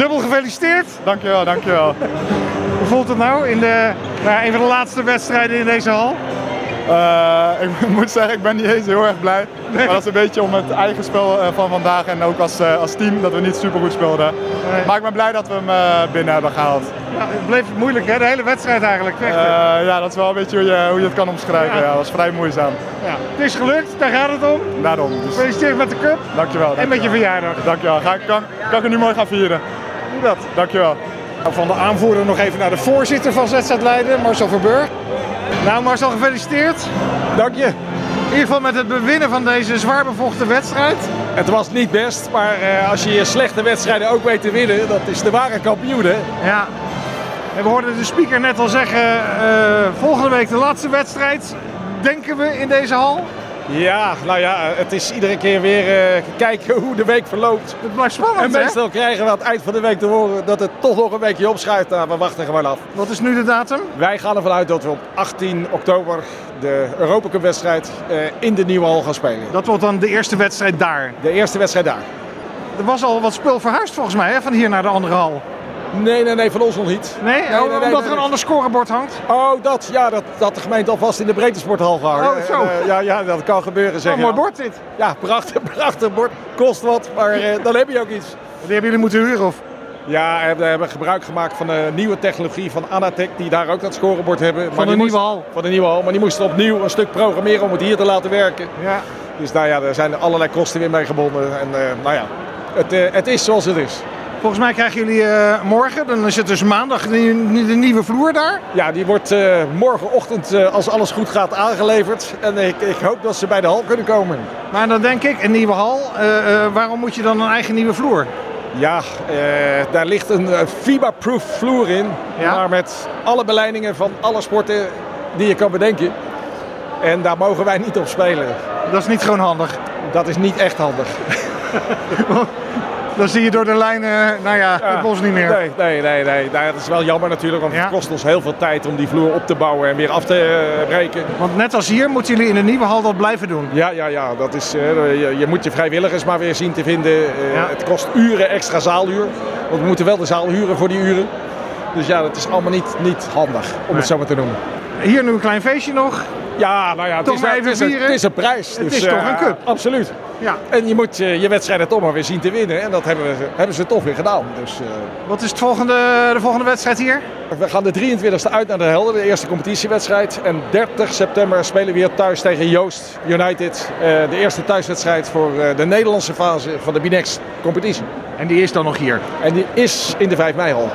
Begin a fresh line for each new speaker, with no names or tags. gefeliciteerd.
Dankjewel, dankjewel.
Hoe voelt het nou in de, nou, een van de laatste wedstrijden in deze hal?
Eh, ik moet zeggen, ik ben niet eens heel erg blij. Maar dat is een beetje om het eigen spel eh, van vandaag en ook als, eh, als team dat we niet super goed speelden.
Nee.
Maar ik ben blij dat we hem eh, binnen hebben gehaald.
Ja, Nou, het bleef moeilijk, hè? De hele wedstrijd eigenlijk.
Eh,
vechten.
ja, dat is wel een beetje hoe je, hoe je het kan omschrijven.
Ja.
Ja. dat was vrij moeizaam.
ja. Het is gelukt, daar gaat het om.
Daarom. Dus, dankjewel,
Gefeliciteerd met de cup
dankjewel.
en met je verjaardag.
Dankjewel. Ga, ik- kan, kan ik er nu mooi gaan vieren?
Doe dat.
Dankjewel.
Nou,
Van de aanvoerder nog even naar de voorzitter van ZZ Leiden, Marcel Verburg.
Nou Marcel, gefeliciteerd.
Dank je.
In ieder geval met het bewinnen van deze zwaar bevochten wedstrijd.
Het was niet best, maar eh, als je je slechte wedstrijden ook weet te winnen, dat is de ware kampioen. Hè?
Ja. En we hoorden de speaker net al zeggen, eh, volgende week de laatste wedstrijd, denken we in deze hal.
Ja, nou ja, het is iedere keer weer eh, kijken hoe de week verloopt.
Het blijft spannend,
En
hè?
meestal krijgen we aan het eind van de week te horen dat het toch nog een weekje opschuift. Nou, we wachten gewoon af.
Wat is nu de datum?
Wij gaan ervan uit dat we op 18 oktober de Europa Cup wedstrijd eh, in de Nieuwe Hal gaan spelen.
Dat wordt dan de eerste wedstrijd daar.
De eerste wedstrijd daar.
Er was al wat spul verhuisd volgens mij, hè? van hier naar de andere hal.
Nee, nee, nee, van ons nog niet.
Nee, Oh,
nee, nee,
omdat
nee,
er een
nee.
ander scorebord hangt.
Oh, dat, ja, dat, dat de gemeente alvast in de breedtesporthal gehangen.
Oh, zo.
Eh, ja, ja, dat kan gebeuren, zeg
Oh,
je
mooi
dan.
bord dit.
Ja, prachtig, prachtig bord. Kost wat, maar eh, dan heb je ook iets.
Die hebben jullie moeten huren of?
Ja, eh, we hebben gebruik gemaakt van de nieuwe technologie van Anatech, die daar ook dat scorebord hebben. Van
de nieuwe hal.
Van de nieuwe hal, maar die moesten opnieuw een stuk programmeren om het hier te laten werken.
Ja.
Dus nou ja, er zijn allerlei kosten weer mee gebonden. En eh, nou ja, het, eh, het is zoals het is.
Volgens mij krijgen jullie eh, morgen, dan is het dus maandag, de, de nieuwe vloer daar.
Ja, die wordt eh, morgenochtend, eh, als alles goed gaat, aangeleverd. En ik, ik hoop dat ze bij de hal kunnen komen.
Maar dan denk ik, een nieuwe hal, eh, eh, waarom moet je dan een eigen nieuwe vloer?
Ja, eh, daar ligt een eh, FIBA-proof vloer in.
Ja.
Maar met alle beleidingen van alle sporten die je kan bedenken. En daar mogen wij niet op spelen.
Dat is niet gewoon handig.
Dat is niet echt handig.
Dan zie je door de lijnen, nou ja, het bos niet meer.
Nee, nee, nee, nee. Nou, dat is wel jammer natuurlijk, want
Ja.
het kost ons heel veel tijd om die vloer op te bouwen en weer af te eh, breken.
Want net als hier moeten jullie in de nieuwe hal dat blijven doen.
Ja, ja, ja. Dat is, eh, je, je moet je vrijwilligers maar weer zien te vinden. Eh,
Ja.
Het kost uren extra zaaluur. Want we moeten wel de zaal huren voor die uren. Dus ja, dat is allemaal niet, niet handig, om
Nee.
het zo maar te noemen.
Hier nu een klein feestje nog.
Ja, nou ja, het
Toch
is,
maar
wel-
even
het is, een,
vieren.
het is een prijs.
Het
dus,
is toch
eh,
een cup.
Absoluut.
Ja.
En je moet eh, je wedstrijden toch maar weer zien te winnen. En dat hebben, we, hebben ze toch weer gedaan. Dus, eh,
Wat is het volgende, de volgende wedstrijd hier?
we gaan de 23e uit naar de Helder, de eerste competitiewedstrijd. En 30 september spelen we weer thuis tegen Joost United. eh, de eerste thuiswedstrijd voor eh, de Nederlandse fase van de Binex competitie.
En die is dan nog hier.
En die is in de 5 mei al.